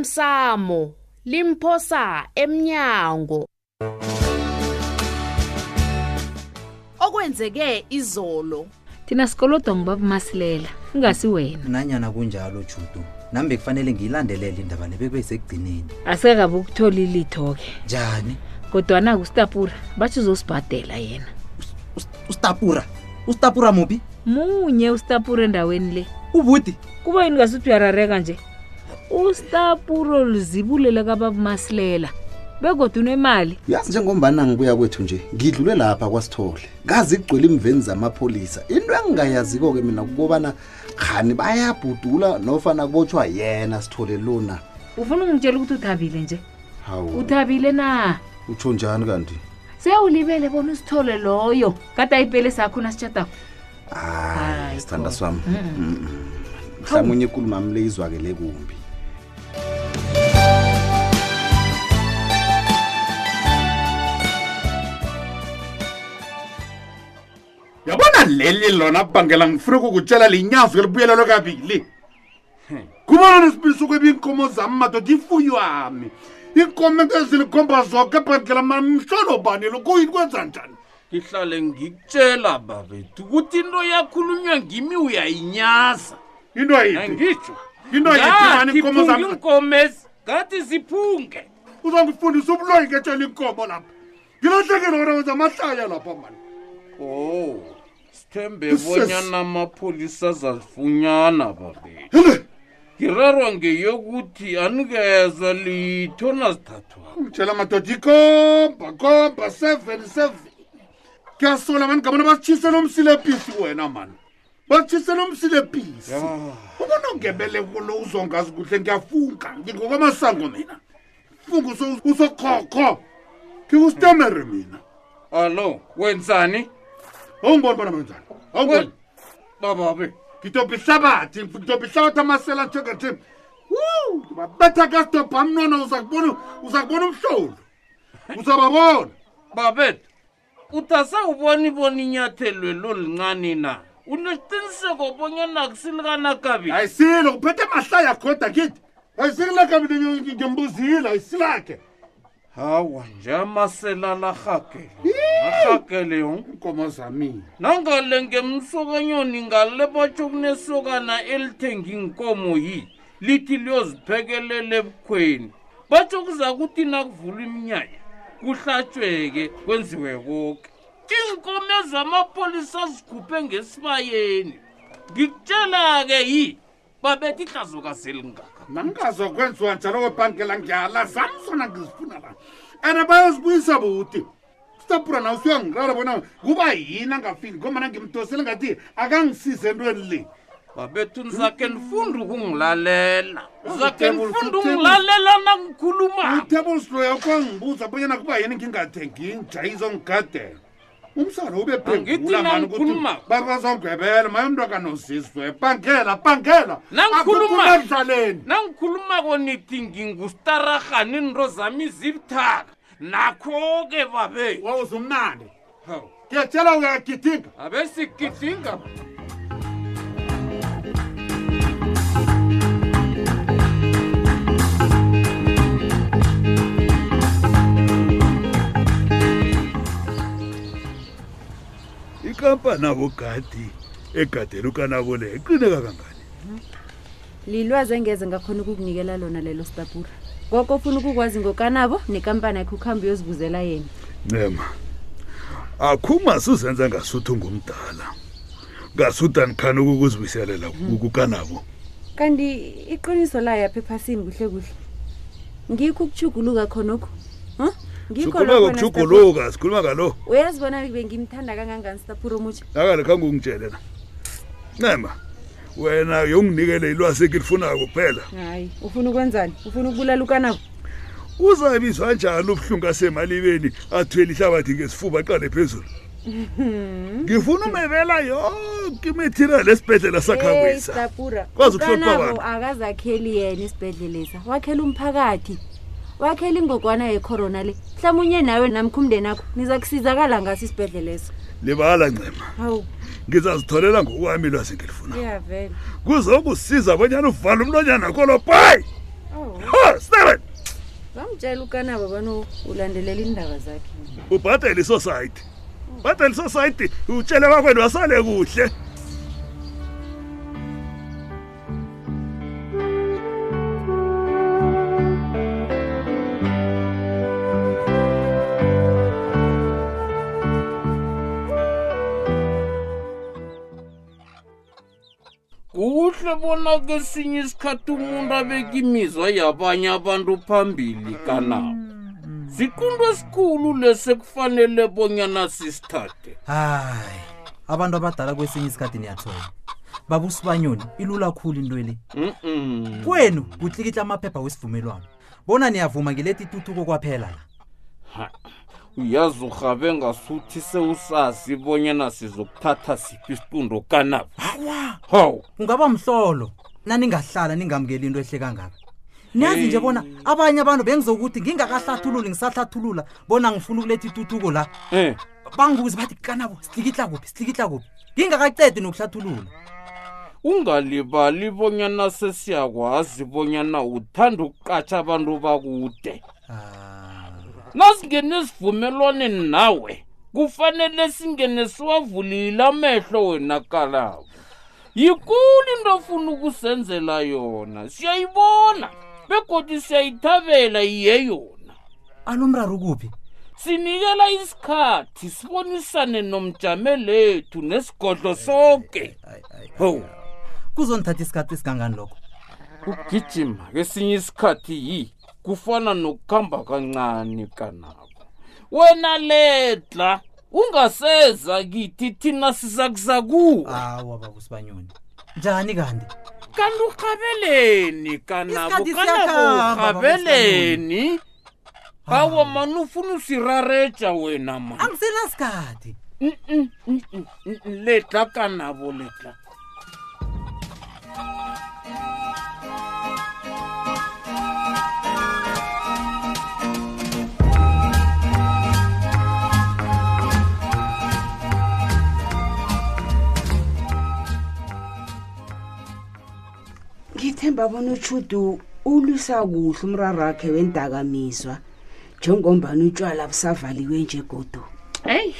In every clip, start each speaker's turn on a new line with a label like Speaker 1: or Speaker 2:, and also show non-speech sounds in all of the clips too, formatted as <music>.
Speaker 1: osemsamo limphosa emnyango okwenzeke izolo
Speaker 2: thina sikolodo ngibaba masilela ingasi wena
Speaker 3: nanyana kunjalo judu nami bekufanele ngiyilandelele indaba le bekube sekugcineni
Speaker 2: asikakabe ukuthola ilitho-ke
Speaker 3: njani
Speaker 2: kodwana-ke usitapura batsho uzosibhadela yena
Speaker 3: usitapura usitapura muphi
Speaker 2: munye usitapura endaweni le
Speaker 3: ubudi
Speaker 2: kuba yini ngasuthi uyarareka nje usitapuro luzibulela kababa masilela begodwa unemali
Speaker 4: uyazi njengombana ngibuya kwethu nje ngidlule lapha kwasithole kazi kugcwele imveni zamapholisa into engingayaziko-ke mina kukobana khani bayabhudula nofana kotshwa yena sithole lona
Speaker 2: ufuna ungitshela ukuthi uthabile nje
Speaker 4: hawu
Speaker 2: uthabile na
Speaker 4: utsho njani kanti
Speaker 2: sewulibele bona usithole loyo kade ayipele sakho nasitshatako
Speaker 4: hayi
Speaker 2: Hayi,
Speaker 4: isithanda
Speaker 2: bo.
Speaker 4: sami mhlawumunye ikulumami le izwakele kumbi
Speaker 5: yabona leli lona bangela ngifuna kukutshela linyazo elibuyelelwe kabili He. kumona nesibiso kweba iinkomo zam madoda ifuyami iinkomo into ezilikhomba zoke bhandlela ma mhlolo bani lokuyini kwenza njani
Speaker 6: ngihlale ngikutshela babethu ukuthi into yakhulunywa ngimi uyayinyaza
Speaker 5: into yiphi
Speaker 6: angitsho
Speaker 5: into yiphi mani iinkomo zam
Speaker 6: inkomezi ngathi ziphunge
Speaker 5: uzangifundisa ubuloyi ngetshela iinkomo lapha ngilahlekile wena wenza amahlaya lapha mani
Speaker 6: o sithembe
Speaker 5: Yes, yes.
Speaker 6: bonyana amapholisa azazifunyana babethu
Speaker 5: hele
Speaker 6: ngirarwa ngeyokuthi anikezwa litho nazithathwako
Speaker 5: tshela madoda ikomba komba seven seven kuyasola mani ngabona basitshisele umsilepisi wena mani basitshisele umsilepisi ubona ungebeleko lo uzongazi kuhle ngiyafunga ngingokwamasango mina funga uso- usokhokho ngikustemere mina
Speaker 6: alo wenzani
Speaker 5: awungiboni bona benzani awungiboni
Speaker 6: We- bababe
Speaker 5: ngidobha ihlabathi ngidobha ihlabathi amasela njengathim babetha kasidobha mnwana uza kubona uza kubona umhlolo uzababona
Speaker 6: babethu utasa uboni bona inyathelwe lolincane na unesiqiniseko bonyana akusilikana-kabi
Speaker 5: ayisilo kuphethe mahlaya khoda kithi ayisililaka mina ngimbuzile ayisilake
Speaker 6: hawa nje amasela larhagele arhagele yo
Speaker 5: iinkomo zamina
Speaker 6: nangale ngemsokanyoni ngale batsho kunesokana elithenga inkomo yi lithi liyoziphekelela ebukhweni batsho kuza kuthi nakuvula iminyanya kuhlatshweke kwenziwe koke iinkomo ezamapolisa zikhuphe ngesibayeni ngikutshela-ke yi babetha ihlazokazelingaka
Speaker 5: nangingazokwenziwa njalo kwebhankela ngiyala zam sona ngizifuna la and bayozibuyisa buti stapura naw suyangirara bona kuba yini angafiki ngomana ngimdosele ngathi akangisize entweni le
Speaker 6: babethu nizakhe nifunda ukungilalela zakhe
Speaker 5: Table,
Speaker 6: nifunda
Speaker 5: table.
Speaker 6: ukungilalela nangikhulumako
Speaker 5: utabosloya kwangibuza bonyana kuba yini ngingathengi njayizo ngigadela umsalo ube
Speaker 6: Angithi nangikhuluma.
Speaker 5: bazongwebela maye mntu akanozizwe bhangela bhangela
Speaker 6: Nangikhuluma.
Speaker 5: akudlaleni
Speaker 6: nangikhuluma konithi ngingustarahani into zami zibuthaka nakho-ke babe
Speaker 5: wawuzumnandi ngiyatshela uyagidinga
Speaker 6: abesigidinga
Speaker 5: ikampani abogadi egadela ukanabo le iqineka kangani
Speaker 7: lilwazi engeze ngakhona ukukunikela lona lelo stapura koko ufuna ukukwazi ngokanabo nekampani yakhe ukuhambe uyozibuzela yena
Speaker 5: ncema akhumasuzenza ngasuthi ungumdala ngasuthi andikhani ukukuzibuyiselela kukanabo
Speaker 7: kanti iqiniso layo apha ephasini kuhle kuhle ngikho ukuchuguluka khonokho Huh? Ngikho
Speaker 5: sikhuluma
Speaker 7: lokho wena Stapura.
Speaker 5: ngokuchuguluka sikhuluma ngalo
Speaker 7: uyazi bona bengimthanda kangangani stapura omutsha
Speaker 5: akale khange ungitshele na ncema wena yonginikele ilwasi kilifunako kuphela
Speaker 7: hayi ufuna ukwenzani ufuna ukubulala ukanabo
Speaker 5: uzabizwa njani ubuhlungu asemalibeni athwele ihlabathi ngesifuba aqale phezulu ngifuna umebela yonke imaterial esibhedlela
Speaker 7: Hey,
Speaker 5: sakhawisa
Speaker 7: Stapura.
Speaker 5: Kwazi ukuhlonipha
Speaker 7: Ukanabo
Speaker 5: abantu.
Speaker 7: akazakheli yena isibhedlelesa wakhela umphakathi wakhela ingogwana yekhorona le mhlawumunye nawe namkhumndeni akho niza kusizakala ngaso isibhedleleso
Speaker 5: libala ncema
Speaker 7: hawu
Speaker 5: ngizazitholela ngokwami ilwazi engilifuna
Speaker 7: iyavela
Speaker 5: kuzokusiza bonyana uvala umlonyana kolo bhayi
Speaker 7: oh. mtshela ukanabo bano ulandelela iindaba zakhe
Speaker 8: ubhadele isociety bhadele isociety utshele bakwenu wasale kuhle
Speaker 6: kuhle bona kesinye isikhathi umuntu abeka imizwa yabanye abantu phambili kanabo siqundo esikhulu lesi ekufanele bonyana sisithathe
Speaker 3: hayi abantu abadala kwesinye isikhathi niyathola babusibanyoni ilula khulu into le
Speaker 6: Mm-mm.
Speaker 3: kwenu kutlikitla amaphepha wesivumelwano bona niyavuma ngiletha ituthuko kwaphela la
Speaker 6: Ha, uyazi urhabe ngasuthi sewusazi bonyana sizokuthatha siphi isiqundo kanabo
Speaker 3: hawa
Speaker 6: hawu
Speaker 3: ungaba mhlolo naningahlala ningamukeli into ehle kangaka niyazi nje bona abanye abantu bengizokuthi ngingakahlathululi ngisahlathulula bona ngifuna ukuletha ituthuko la
Speaker 6: um
Speaker 3: bangibuze bathi kanabo sihlikitla kuphi sihlikitla kuphi ngingakacedi nokuhlathulula
Speaker 6: ungalibali bonyana sesiyakwazi bonyana uthanda ukuqatsha abantu bakude nasingene esivumelwaneni nawe kufanele singene siwavulile amehlo wena kalabo yikulu into ofuna ukusenzela yona siyayibona begodi siyayithabela iye yona
Speaker 3: alumraru kuphi
Speaker 6: sinikela isikhathi sibonisane nomjamelethu nesigodlo sonke ho
Speaker 3: kuzonithatha isikhathi esikangani lokho
Speaker 6: ukugijima kesinye isikhathi yi kufana nokuhamba kancane kanabo wena ledla ungaseza kithi thina sizakuza kuwe
Speaker 3: awa babusibanyoni njani kanti
Speaker 6: kanti urhabeleni kanabo
Speaker 3: Isikhathi
Speaker 6: kanabo
Speaker 3: siyakhamba, Ah.
Speaker 6: urhabeleni awa mani ufuna usirareja wena mani Mm,
Speaker 3: angisenasikhathi
Speaker 6: letla kanabo letla
Speaker 9: ngithemba bona utshudu ulwisa kuhle umrarakhe wendakamizwa njengombani utshwala busavaliwe nje godu
Speaker 10: heyi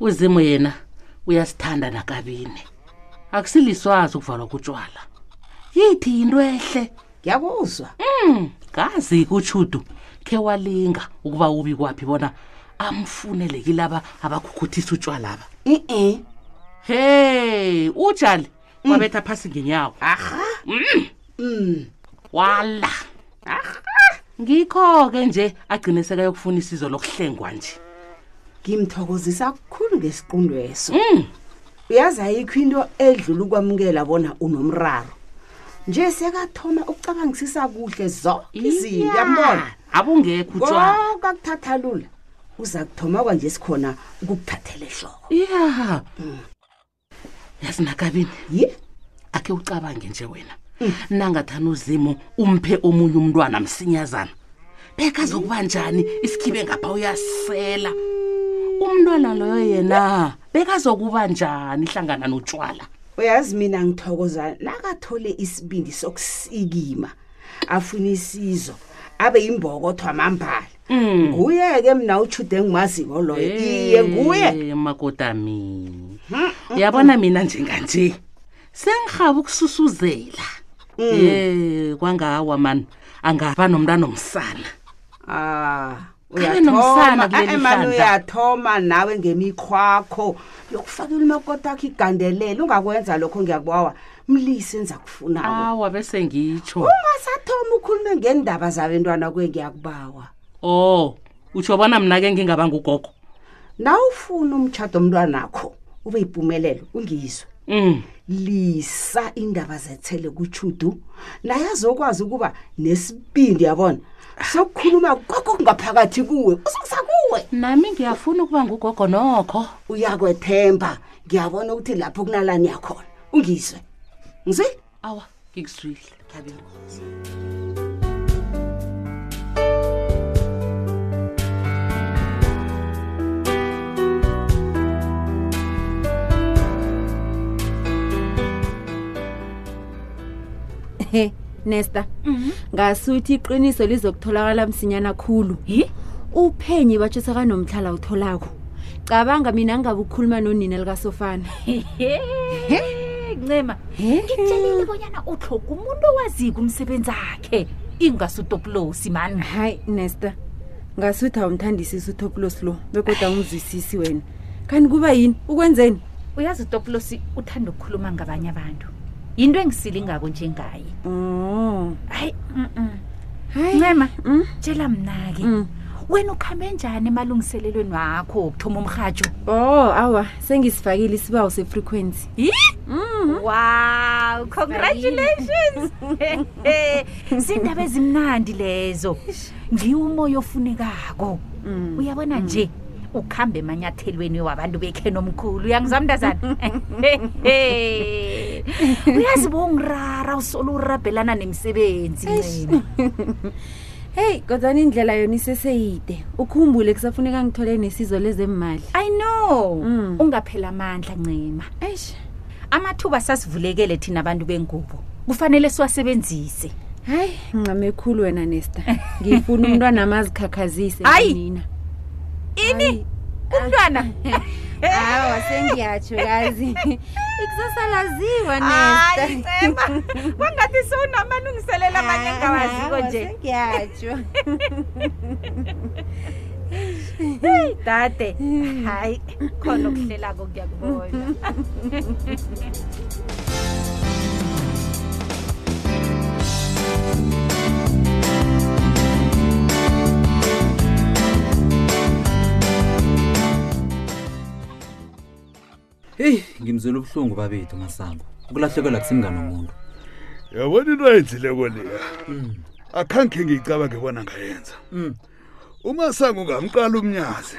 Speaker 10: uzimu yena uyasithanda nakabini akusiliswazi ukuvalwa kutshwala yithi yinto ehle Hmm,
Speaker 9: ngiyakuzwa
Speaker 10: ngazi kutshudu khe walinga ukuba ubi kwaphi bona amfunele kilaba abakhukhuthisa utshwalaba
Speaker 9: i-e Mm.
Speaker 10: heyi utshali wabetha phasi ngenyawo
Speaker 9: aha um
Speaker 10: Mm. wala ngikho-ke nje agcine sekayokufuna isizo lokuhlengwa nje
Speaker 9: ngimthokozisa kukhulu ngesiqundweso
Speaker 10: Mm.
Speaker 9: uyazi ayikho into edlula ukwamukela bona unomraro nje sekathoma ukucabangisisa kuhle zonke izinto yambona
Speaker 10: abungekho utshwala
Speaker 9: konke akuthatha lula uza kuthoma kwanje sikhona ukukuthathela ehloko
Speaker 10: ya yazi nakabini
Speaker 9: ye Mm.
Speaker 10: akhe ucabange nje wena nangathana uzimo umphe omunye umntwana msinyazana
Speaker 9: Mm.
Speaker 10: bekazokuba njani isikhibe ngapha uyasela umntwana loyo yena bekazokuba njani hlangana notshwala
Speaker 9: uyazi mina ngithokoza nakathole isibindi sokusikima afuna isizo abe yimbokotho amambala
Speaker 10: Mm.
Speaker 9: nguye-ke mna utshude engimaziko loyo iye nguye
Speaker 10: Eh, makodami uyabona mina njenganje sengihaba ukususuzela
Speaker 9: Mm.
Speaker 10: ye kwangawa mani angaba nomntwana omsana
Speaker 9: ah Eh,
Speaker 10: Kabe nomsana kuleli
Speaker 9: emani
Speaker 10: hlandla.
Speaker 9: uyathoma nawe ngemikhwakho yokufakela umakoti akho igandelele ungakwenza lokho ngiyakubawa mlise enza kufunako
Speaker 10: awa bese ngitsho
Speaker 9: ungasathoma ukhulume ngendaba zabentwana kwe ngiyakubawa
Speaker 10: Oh, utsho bona mina ke ngingaba ngugogo.
Speaker 9: nawufuna umtshado omntwanakho ube yipumelelo ungizwe
Speaker 10: Mm.
Speaker 9: lisa indaba zethele kutshudu naye azokwazi ukuba nesibindi yabona sokukhuluma koko kungaphakathi kuwe usukusa kuwe
Speaker 10: Nami ngiyafuna ukuba ngugogo nokho.
Speaker 9: uyakwethemba ngiyabona ukuthi lapho kunalani yakhona ungizwe ngizwe
Speaker 10: Awa, ngikuzwile. Thabile.
Speaker 7: he nesta ngasuthi iqiniso lizokutholakala msinyana khulu uphenyi batsho sekanomtlhala utholako cabanga mina ngingabe ukukhuluma nonina likasofana
Speaker 11: ncema ngikutshelile bonyana utlhoga umuntu owaziko umsebenzi akhe ingasutopulosi mani
Speaker 7: hayi nesta ngasuthi awumthandisisi utopulos lo bekodwa awumzwisisi wena kanti kuba yini ukwenzeni
Speaker 11: uyazi utopulosi uthanda ukukhuluma ngabanye abantu yinto engisilingako njengaye
Speaker 7: o
Speaker 11: hayi ncema tshela mna-ke wena ukhambe njani emalungiselelweni wakho wokuthoma umrhatsho
Speaker 7: oh awa sengisifakile isibawo sefrequency <laughs>
Speaker 11: wow congratulations <laughs> zindaba ezimnandi lezo ngiwo umoya ofunekako uyabona nje ukhambe emanyathelweni wabantu bekheni omkhulu uyangizamntazana uyazi bongirara Eh, usolo urabhelana nemisebenzi ncema
Speaker 7: heyi kodwani indlela yona iseseyide ukhumbule kusafuneka ngithole nesizo Mm. lezemali
Speaker 11: i know ungaphela amandla ncema amathuba sasivulekele thina abantu bengubo kufanele siwasebenzise
Speaker 7: hayi ngincame ekhulu wena nesta ngifuna umntwana amazikhakhazise
Speaker 11: Ayi.
Speaker 7: nina
Speaker 11: ini
Speaker 7: <laughs>
Speaker 11: umntwana
Speaker 7: awa sengiyatsho
Speaker 11: <laughs>
Speaker 7: kazi ikusasa laziwa nesta
Speaker 11: hayi ncema kwangathi sowunamalungiselela amanye engawaziko
Speaker 7: Awa,
Speaker 11: nje <laughs>
Speaker 7: sengiyatsho
Speaker 11: Hey, dade hayi khona okuhlelako
Speaker 7: <laughs>
Speaker 11: kuyakubona
Speaker 3: heyi ngimzwela ubuhlungu babethu masango ukulahlekelwa kusemngane omuntu
Speaker 8: yabona into ayenzileko leya akhange ngiyicabange bona ngayenza
Speaker 3: Mm.
Speaker 8: umasango ngamqala umnyazi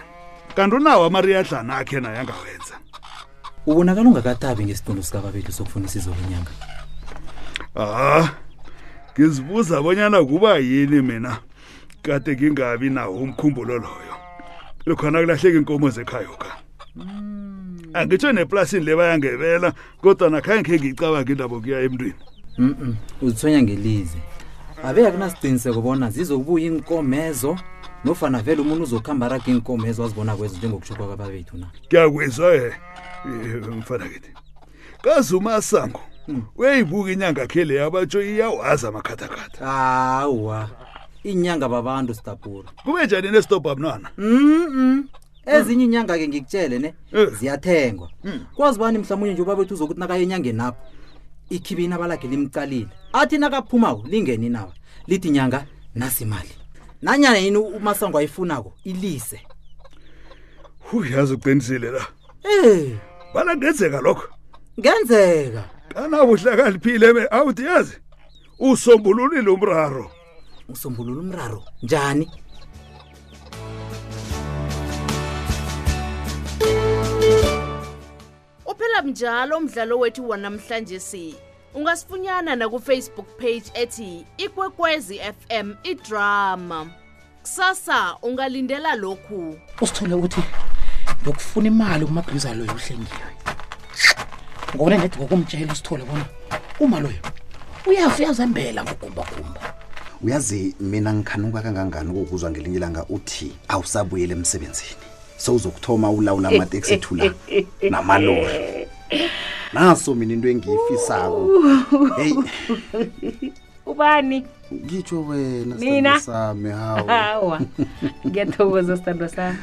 Speaker 8: kanti unawo amariyadlana akhe naye angawenza
Speaker 3: ubonakala ungakatabi ngesiqondo sikababethu sokufuna isizo lenyanga
Speaker 8: ha Ah, ngizibuza bonyana kuba yini mina kade ngingabi nawo umkhumbulo loyo lokhona kulahleka inkomo zekhayoka angitsho Ah, neplasini le bayangebela kodwa nakhange khe ngiyicabange indaba kuya emntwini
Speaker 3: mm uzithonya ngelize abe akunasiqiniseko bona zizokubuya iinkomezo nofana vele umuntu uzokuhamba raga iinkomezo azibona kwezo njengokusho kwakababethu na
Speaker 8: kuyakwizwa ye mfana kithi kazi umasango
Speaker 3: Hmm.
Speaker 8: uyayibuka inyanga khe leyo abatsho iyawazi amakhathakhatha
Speaker 3: hawa inyanga babantu sitapura
Speaker 8: kube njani nesitobha mntwana
Speaker 3: mm ezinye inyanga-ke ngikutshele ne ziyathengwa kwazi bani mhlawumunye nje ubabethu uzokuthi nakaye enyangeni apho ikhibe inabalakhe limcalile athi nakaphumako lingeni nawe lithi nyanga nasimali nanyana yini umasango ayifunako ilise
Speaker 8: uyazi uqinisile la
Speaker 3: Eh,
Speaker 8: bana ngenzeka lokho
Speaker 3: ngenzeka
Speaker 8: kanabuhlakaliphile be awuthi yazi usombululile umraro
Speaker 3: usombulula umraro njani
Speaker 1: uphela mnjalo umdlalo wethu wanamhlanje si ungasifunyana nakufacebook page ethi ikwekwezi fm idrama kusasa ungalindela lokhu
Speaker 10: usithole ukuthi ngiyokufuna imali kumabhiza loyo uhlengiwe ngobona nedi ngokumtshela usithole bona uma loyo uyafu uyazembela ngogumbagumba
Speaker 4: uyazi mina ngikhanuka kangangani ukukuzwa ngelinye ilanga uthi awusabuyele emsebenzini sewuzokuthoma ulawula
Speaker 11: Eh,
Speaker 4: amateksi ethu la namalori naso mina into engiyifisako heyi
Speaker 11: ubani
Speaker 4: ngitsho wena sithandwa
Speaker 11: Mina?
Speaker 4: sami hawu
Speaker 2: <laughs>
Speaker 11: hawa ngiyathokoza sithandwa sami